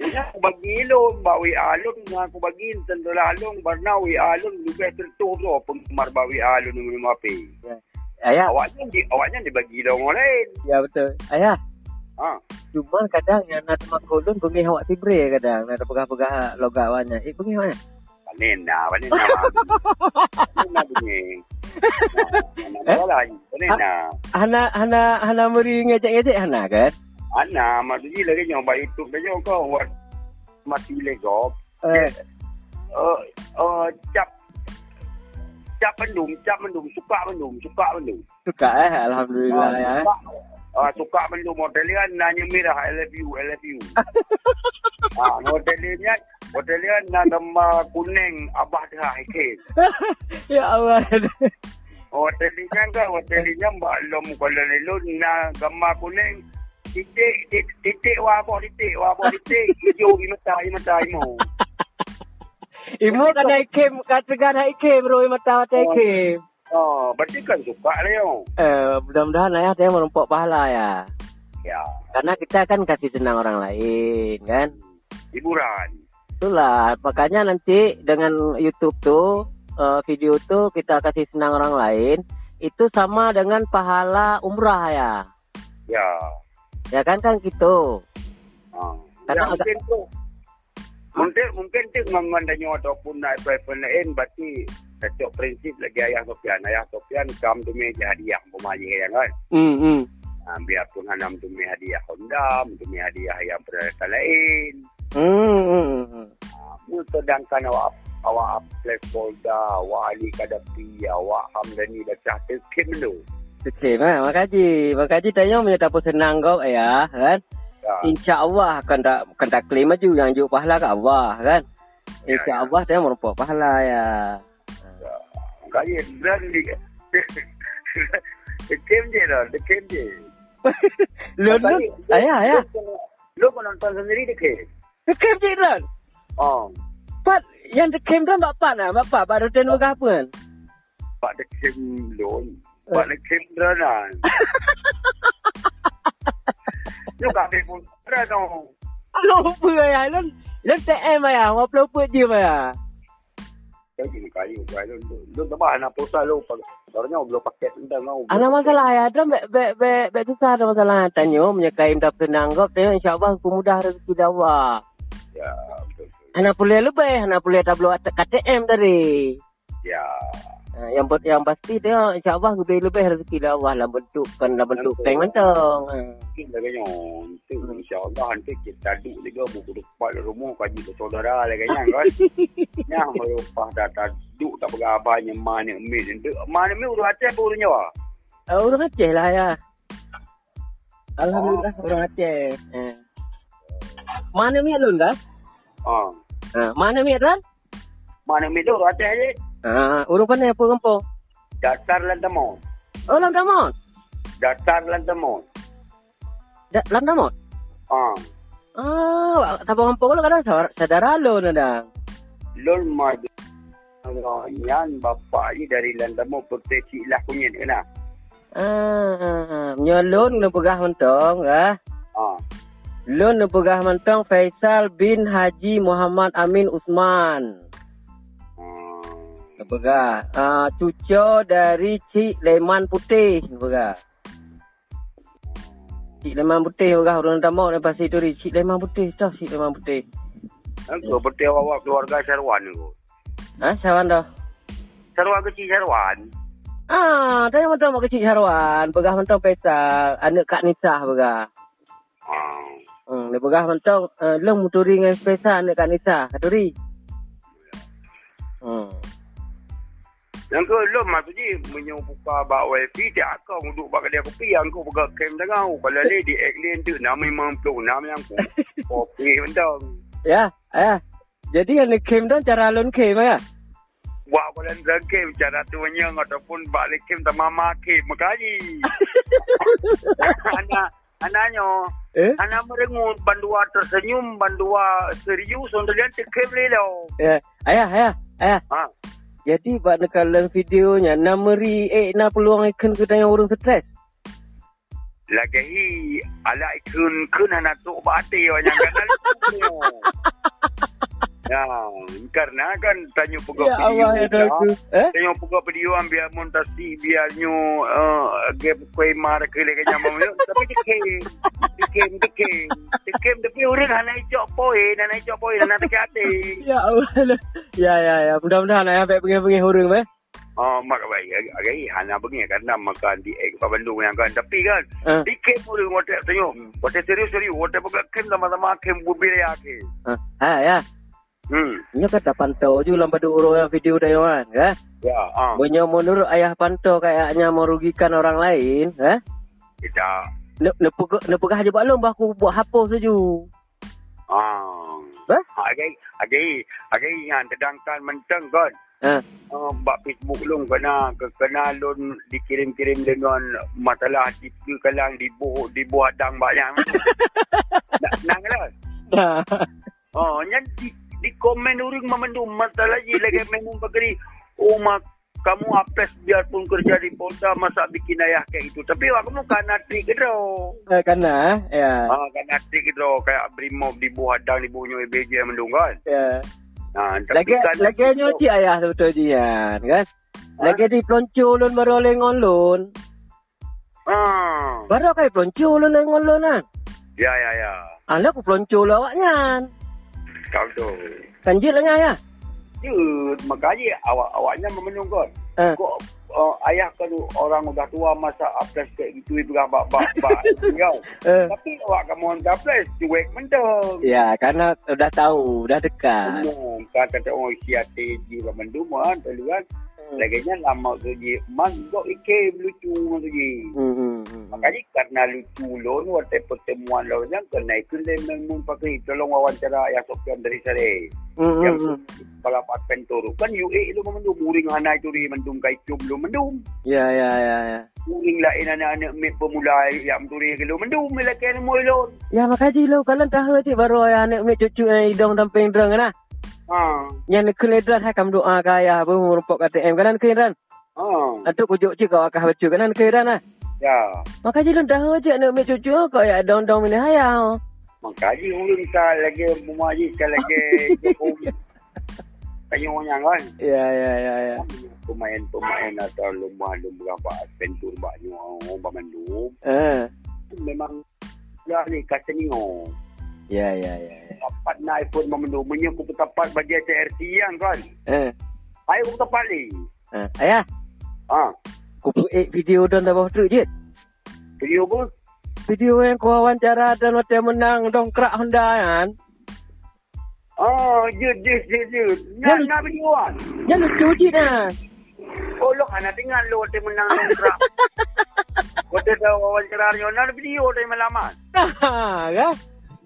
Speaker 2: Ya, aku bagi lu bak WA lu dengan aku bagi tentulah lu warna WA lu lebih tertuh tu penggemar bak WA lu dengan minum api.
Speaker 1: Ayah
Speaker 2: Awaknya di awaknya dibagi dia orang lain.
Speaker 1: Ya betul. Ayah,
Speaker 2: Ha.
Speaker 1: cuma kadang yang nak temak kolon bengi hawak tibre kadang nak pegah-pegah logak wanya. Eh bengi hawak.
Speaker 2: Panen dah, panen dah. Panen dah bunyi.
Speaker 1: Eh?
Speaker 2: Mana lah, panen dah.
Speaker 1: Hana hana hana meri ngejek-ngejek hana kan?
Speaker 2: Ana maksudnya lagi yang bak YouTube dia jangan kau buat mati legop.
Speaker 1: Eh,
Speaker 2: uh, uh, cap cap mendung, cap mendung, suka mendung, suka mendung.
Speaker 1: suka eh alhamdulillah
Speaker 2: Ah,
Speaker 1: ya.
Speaker 2: suka, ah, suka mendung model dia kan nanya merah, I love you, I love you. ah, model dia model dia kan, nak nama kuning abah lah, dah ikan.
Speaker 1: [LAUGHS] ya Allah. [LAUGHS]
Speaker 2: Hotel dia kan hotel dia mbak lom kalau ni lu nak gambar kuning titik titik, titik wah apa titik wah apa titik hijau imata imata imo.
Speaker 1: Ibu kada ikem kata kada ikem roi mata mata ikem.
Speaker 2: Oh, berarti kan suka dia.
Speaker 1: Eh, mudah-mudahan ayah saya menumpuk pahala ya.
Speaker 2: Ya,
Speaker 1: Karena kita kan kasih senang orang lain kan.
Speaker 2: hiburan.
Speaker 1: Itulah makanya nanti dengan YouTube tuh eh, video tuh kita kasih senang orang lain itu sama dengan pahala umrah ya.
Speaker 2: Ya.
Speaker 1: Ya kan kan gitu.
Speaker 2: Ha.
Speaker 1: Kadang
Speaker 2: Ya,
Speaker 1: agak-
Speaker 2: mungkin tu. Mungkin mungkin tu ngangan dan nyawa ataupun nak apa-apa lain berarti setiap prinsip lagi ayah Sofian. Ayah Sofian kam tu meh hadiah pemaji yang kan.
Speaker 1: Hmm, hmm.
Speaker 2: Ha, biar pun hanam tu meh hadiah Honda, tu meh hadiah yang peralatan lain.
Speaker 1: Hmm, hmm, hmm.
Speaker 2: Ha, pun sedangkan awak awak apply folder, awak Ali Kadapi, awak Hamdani dah cah terkim tu.
Speaker 1: Okey, nah, makaji. Makaji tanya punya tak apa senang kau ya, kan?
Speaker 2: Ya.
Speaker 1: Insya-Allah kan tak kan tak claim maju yang juk pahala ke Allah kan.
Speaker 2: Ya, ya.
Speaker 1: Insya-Allah dia merupakan pahala ya.
Speaker 2: Kaya dan [LAUGHS] di Dekem je lah, dekem je.
Speaker 1: Lu ah, ya, lu ayah ayah.
Speaker 2: Lu pun nonton sendiri dekem.
Speaker 1: Dekem je Ran.
Speaker 2: Oh,
Speaker 1: Pat yang dekem Ran bapak nah, bapak baru tenung apa kan?
Speaker 2: Pak dekem
Speaker 1: Eh.
Speaker 2: lon. Pak dekem
Speaker 1: [LAUGHS]
Speaker 2: ranan. Lu kat pun ranan.
Speaker 1: Lupa ayah Lan Lan TM ayah Orang pelopor je ayah
Speaker 2: Jadi kayu kayu lu lu tambah anak posa lu. Sebenarnya belum paket entah mau.
Speaker 1: Ada masalah ayah Ada bek bek bek bek susah ada masalah Tanya menyekai dah senang kau Tanya insyaAllah aku mudah rezeki dakwah
Speaker 2: Ya, betul. betul.
Speaker 1: Anak boleh lebih Anak boleh tak perlu atak KTM tadi
Speaker 2: Ya.
Speaker 1: Ha, yang ber- yang pasti dia insyaAllah lebih lebih rezeki dakwah lah bentuk kan lah bentuk
Speaker 2: Betul.
Speaker 1: kain mentong. Ha.
Speaker 2: Mungkin lah kanya. Nanti insyaAllah nanti kita aduk juga buku depan rumah kaji bersaudara lah kanya kan. Yang berupah dah tak duk tak bergabahnya mana min. Mana min urut hati apa urut nyawa?
Speaker 1: Uh, orang Aceh lah Oh. ya. Alhamdulillah orang Aceh. Ha. Mana miat lun dah?
Speaker 2: Ha.
Speaker 1: Ha, mana miat dah?
Speaker 2: Mana min tu urut hati je.
Speaker 1: Ha, orang pandai apa kampung?
Speaker 2: Datar lantamon.
Speaker 1: Oh, Lantamon.
Speaker 2: Datar lantamon.
Speaker 1: Da, Lantamon.
Speaker 2: Ha.
Speaker 1: Ah, tabung kampung lu kadang saudara, saudara lu nada.
Speaker 2: Lol madu. Yang bapak ni dari lantamon perpeci lah punya ni lah.
Speaker 1: Ah, nyolon kena pegah mentong ah.
Speaker 2: Ha.
Speaker 1: Lun pegah mentong Faisal bin Haji Muhammad Amin Usman. Pegah. Uh, cucu dari Cik Leman Putih. Pegah. Cik Leman Putih pegah. Orang tamu lepas itu dari Cik Leman Putih. Tau Cik Leman Putih.
Speaker 2: Engkau berarti awak keluarga Syarwan ni kau.
Speaker 1: Ha? Syawan dah.
Speaker 2: Syarwan kecil Syarwan.
Speaker 1: Ah, tanya mentong mak kecil Syawan. Pegah mentong Faisal. Anak Kak Nisa pegah.
Speaker 2: Ah.
Speaker 1: Hmm, dia pegah mentong uh, leng muturi dengan Faisal anak Kak Nisa. Katuri. Hmm. [LAUGHS]
Speaker 2: Yang ke lo masuk je punya buka bak wifi tiap kau duduk bak kedai kopi yang kau buka kem tengah kalau le di Auckland tu nama memang pelung nama yang
Speaker 1: [LAUGHS]
Speaker 2: kau kopi mentang.
Speaker 1: Ya, ayah. Jadi yang ni kem tu cara alun kem ya.
Speaker 2: Buat balan zangkem cara tu menyang ataupun bak lekem tak mama kem makaji. Anak anaknya
Speaker 1: Eh?
Speaker 2: anak merengut bandua tersenyum bandua serius untuk dia tekem lelo.
Speaker 1: Ya. Ayah, ayah, ayah.
Speaker 2: Ha.
Speaker 1: Jadi buat nekalan videonya nameri eh na peluang ikan ke dengan orang stres.
Speaker 2: Lagi hi ala ikun kun anak tu bate yang kenal tu. Ya, karena kan tanya pegawai
Speaker 1: Ya Allah ya Tuhanku. Eh?
Speaker 2: Tengok buka video ambil amun tasi biarnya uh, game kue mar ke lek nyamam yo tapi dekem dekem dekem dekem depi urin hana ijok poin hana ijok poin hana dekat hati
Speaker 1: Ya Allah. [LAUGHS] Ya ya ya. Mudah-mudahan ayah baik pengen-pengen orang eh.
Speaker 2: oh mak bai agai hana bengi kan nak makan di ek Bandung yang kan tapi kan
Speaker 1: Ah.
Speaker 2: dekem urin wote tengok wote serius serius wote buka kem sama-sama kem bubir ya ke
Speaker 1: Ah, ah, ya.
Speaker 2: hmm
Speaker 1: Nya kata kan pantau je lambat duk orang yang video dia orang, eh.
Speaker 2: ya ah
Speaker 1: Bunyo menurut ayah pantau kayaknya merugikan orang lain, eh.
Speaker 2: kita
Speaker 1: Ne ne pegah ne pegah je buat lom aku buat hapus saja.
Speaker 2: ah
Speaker 1: Eh?
Speaker 2: agai agai agai yang terdangkan kan, menteng kan
Speaker 1: Ah.
Speaker 2: uh, bab Facebook lung kena kena lun dikirim-kirim dengan masalah tipu kalang dibu dibu adang banyak. nak nang lah.
Speaker 1: Dah.
Speaker 2: Oh, nyan di, di komen uring memendu masalah je
Speaker 1: [LAUGHS]
Speaker 2: lagi memang bagari. Oh mak kamu apes biarpun kerja di Polda masa bikin ayah kayak itu. Tapi awak kamu kan atri ke tau.
Speaker 1: Eh, Kana eh. Ya.
Speaker 2: Ah, kan atri ke tau. Kayak brimob di buah adang di buahnya EBJ yang mendung kan.
Speaker 1: Ya.
Speaker 2: Ah,
Speaker 1: Lagi
Speaker 2: tapi kan-
Speaker 1: lagi nyuci ayah sebetulnya kan. Lagi di pelonco lun baru lengon lun.
Speaker 2: Ah.
Speaker 1: Baru kai pelonco lun lengon lun kan.
Speaker 2: Ya, ya, ya.
Speaker 1: Anak aku pelonco lah awaknya.
Speaker 2: Kau tu.
Speaker 1: Kanjil lah ya.
Speaker 2: Ya, makanya awak awaknya memenung kot.
Speaker 1: Ha.
Speaker 2: Kok uh, ayah kan orang udah tua masa apres kayak gitu itu bak bak
Speaker 1: [LAUGHS]
Speaker 2: bak. Kau.
Speaker 1: Eh.
Speaker 2: Tapi awak kamu orang apres cuek mendung.
Speaker 1: Ya, karena udah tahu, udah dekat.
Speaker 2: Umum kan kata orang siate ji mendung kan tadi kan. Laginya lama tu ji man dok ike lucu tu ji.
Speaker 1: Hmm, hmm, hmm.
Speaker 2: Makanya karena lucu lon waktu pertemuan lon yang kena ikut dia memang pakai tolong wawancara yang sopian dari Sari.
Speaker 1: Hmm, hmm,
Speaker 2: yang
Speaker 1: hmm.
Speaker 2: kepala paten tu kan UA lu mendung muring hanai tu di mendung kai cum lu mendung
Speaker 1: Ya, ya, ya, ya.
Speaker 2: muring lain anak-anak mit pemula yang tu dia lu mendung melakan moi lon
Speaker 1: Ya, makasih lo. Kalau tahu aja baru ayah anak mek cucu yang hidung tamping drang kan. ah.
Speaker 2: ha
Speaker 1: Yang nak keledran hai kamu doa ke ayah. Apa merupakan KTM kanan keledran.
Speaker 2: ha
Speaker 1: Atuk ujuk cik kau akan baca kanan keledran lah.
Speaker 2: ya
Speaker 1: Maka je lu dah je nak ambil cucu kau ya dong-dong oh. ni hayau.
Speaker 2: makaji urung ka lagi memaji ka lagi Jokowi kayu orang yang kan
Speaker 1: Ya ya ya ya.
Speaker 2: pemain-pemain atau lumba-lumba bak pentur bak nyu orang bak mendung
Speaker 1: Eh.
Speaker 2: memang dah ni kata ni oh
Speaker 1: Ya ya ya. ya.
Speaker 2: dapat naik pun memenung menyeku tempat bagi CRT yang kan
Speaker 1: Eh.
Speaker 2: Ayo kita balik.
Speaker 1: eh. Ayah,
Speaker 2: Ha.
Speaker 1: ku buat video dan dah tu je.
Speaker 2: Video apa?
Speaker 1: Video yang kau wawancara dan macam menang dongkrak Honda kan.
Speaker 2: Oh, je, je, je, je.
Speaker 1: Ya.
Speaker 2: Nak, nak video kan?
Speaker 1: Ya lucu je dah. [LAUGHS]
Speaker 2: Oh, lo kan nak dengar lo dia menang kontrak. Kau dia tahu wawancara ni. Nak video dia melamat.
Speaker 1: Nah, kan?
Speaker 2: Ha,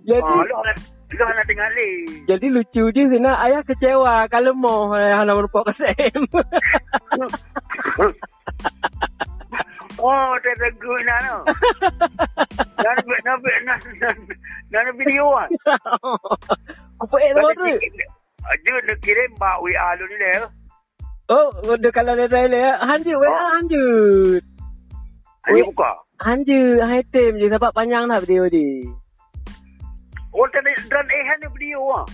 Speaker 1: Jadi
Speaker 2: lo kan lo kan nak dengar le.
Speaker 1: [LAUGHS] jadi lucu je sana ayah kecewa kalau mau eh, ayah nak merupuk KTM. [LAUGHS]
Speaker 2: Oh, dia tegur nak no. Nak nak nak nak nak nak video kan?
Speaker 1: Ku buat tu tu.
Speaker 2: ah, Dia nak kirim bak WA lu ni lah.
Speaker 1: Oh, dia kalau dia dah elak. Hanjut, weh,
Speaker 2: Oh.
Speaker 1: hanjut.
Speaker 2: Dia buka.
Speaker 1: lah Anjir, item je sebab panjang dah video ni.
Speaker 2: Orang tak nak dan ehan Oh, dia beliau ah.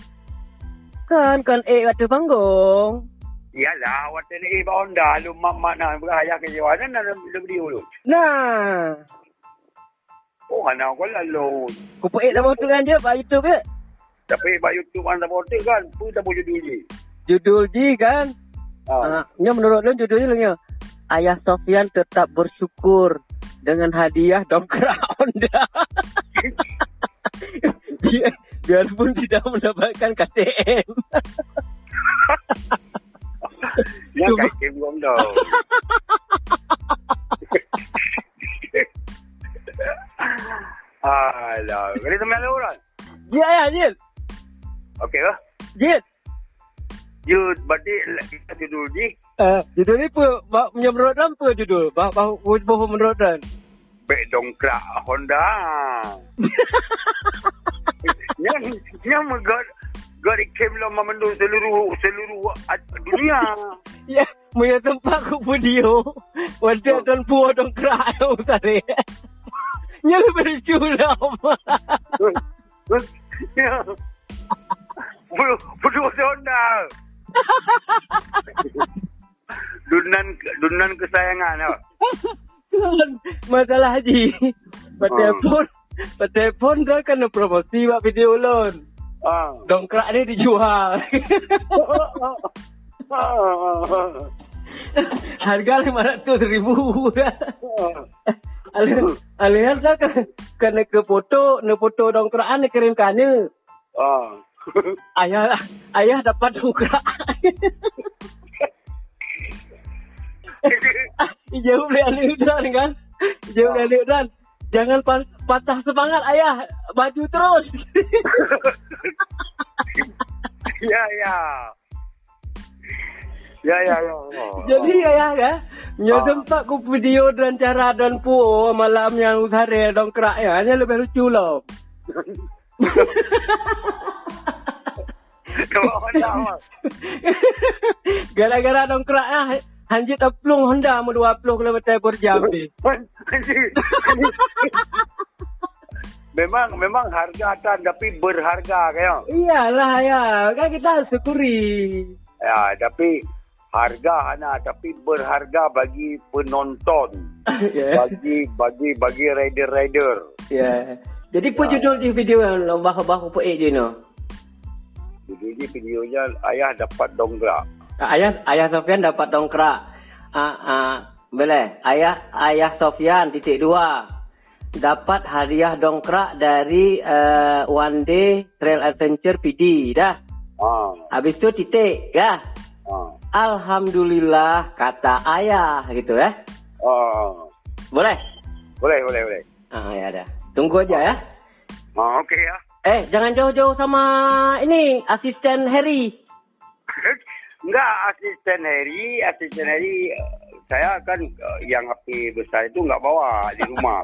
Speaker 1: Kan kan eh kat panggung.
Speaker 2: Yalah, awak tak nak eh bawang dah. Lu mak mak nak berayah ke jawa dan nak dia beliau lu.
Speaker 1: Nah,
Speaker 2: Oh, anak kau lalu.
Speaker 1: ku pek dah motor kan dia kat YouTube ke?
Speaker 2: Tapi buat YouTube kan tak boleh kan. Tu tak boleh dulu je.
Speaker 1: Judul ji kan. Ah,
Speaker 2: Ha.
Speaker 1: nya menurut lu judulnya lu nya. Ayah Sofian tetap bersyukur dengan hadiah dongkrak [LAUGHS] Honda.
Speaker 2: [LAUGHS]
Speaker 1: dia, [LAUGHS] biarpun tidak mendapatkan KTM.
Speaker 2: Yang
Speaker 1: Cuma-
Speaker 2: kaki belum tau. Alah, kena teman lalu orang.
Speaker 1: Ya ya Jil.
Speaker 2: Okey lah.
Speaker 1: Jil.
Speaker 2: You berarti kita tidur di
Speaker 1: Uh, judul ni pun bak punya menurut dan apa judul? Bak bak bak menurut dan.
Speaker 2: beg dongkrak Honda. yang yang megat gari kemlo memandu seluruh seluruh dunia.
Speaker 1: Ya, punya tempat ku video. Wadah dan puah dan [LAUGHS] kerak yang utara. Nya lebih curam.
Speaker 2: Ya. Berdua Honda. Dunan dunan kesayangan. ya. tau.
Speaker 1: Masalah haji.
Speaker 2: Ah.
Speaker 1: Bertelefon. Bertelefon dah kena promosi buat video lon.
Speaker 2: Ah.
Speaker 1: Dongkrak ni dijual. [LAUGHS]
Speaker 2: Ah.
Speaker 1: Harga RM500,000. [LAUGHS] Alihan, alihan lah ke, kena ke foto, ne foto dongkraan ne kirim kane.
Speaker 2: Ah.
Speaker 1: Ayah ayah dapat dongkrak. [LAUGHS] Jauh beli alih udan kan. Jauh beli alih udan. Jangan pa- patah semangat ayah. Baju terus. [LAUGHS]
Speaker 2: ya ya. Ya ya ya.
Speaker 1: Jadi ayah ya. Nyo tempat ku video dan cara dan puo malam yang utara dongkrak ya. Hanya lebih lucu loh.
Speaker 2: Bawa Honda. awak.
Speaker 1: [LAUGHS] Gara-gara dongkrak ya. Hanjit teplung Honda mu 20 km per jam ni.
Speaker 2: [LAUGHS] memang memang harga atas tapi berharga kaya.
Speaker 1: Iyalah ya, kan kita syukuri. [LAUGHS]
Speaker 2: Ya, tapi harga anak tapi berharga bagi penonton,
Speaker 1: ya.
Speaker 2: bagi bagi bagi rider-rider.
Speaker 1: Ya. Jadi pun judul di video yang lomba bah apa eh je no.
Speaker 2: Jadi videonya ayah dapat dongkrak.
Speaker 1: Ayah ayah Sofian dapat dongkrak. Ah ah boleh. Ayah ayah Sofian titik dua dapat hadiah dongkrak dari uh, One Day Trail Adventure PD dah.
Speaker 2: Ah,
Speaker 1: Habis tu titik ya.
Speaker 2: ah,
Speaker 1: Alhamdulillah kata ayah gitu ya.
Speaker 2: ah.
Speaker 1: Boleh?
Speaker 2: Boleh, boleh, boleh.
Speaker 1: Ah ya dah. Tunggu aja ya.
Speaker 2: Ah, okey ya. [LAUGHS]
Speaker 1: Eh, jangan jauh-jauh sama ini asisten Harry.
Speaker 2: Enggak, asisten Harry, asisten Harry, eh, saya kan eh, yang api besar itu enggak bawa di rumah.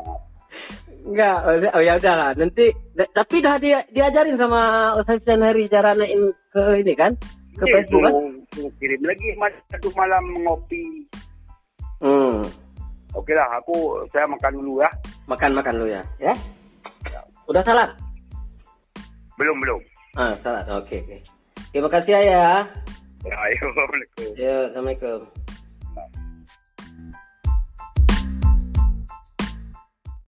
Speaker 1: Enggak, oh, oh, ya udahlah. Nanti da- tapi dah dia diajarin sama asisten Harry cara naikin ke ini kan? Ke
Speaker 2: Dia
Speaker 1: Facebook kan?
Speaker 2: suruh- suruh kirim lagi mas- satu malam ngopi.
Speaker 1: Hmm.
Speaker 2: Okeylah, aku saya makan dulu ya.
Speaker 1: Makan-makan lu ya, ya. Udah salat?
Speaker 2: Belum, belum. [LAUGHS]
Speaker 1: Ah, salat. Oke, oke. Terima kasih ya.
Speaker 2: Ya, Assalamualaikum.
Speaker 1: Yuk, Assalamualaikum.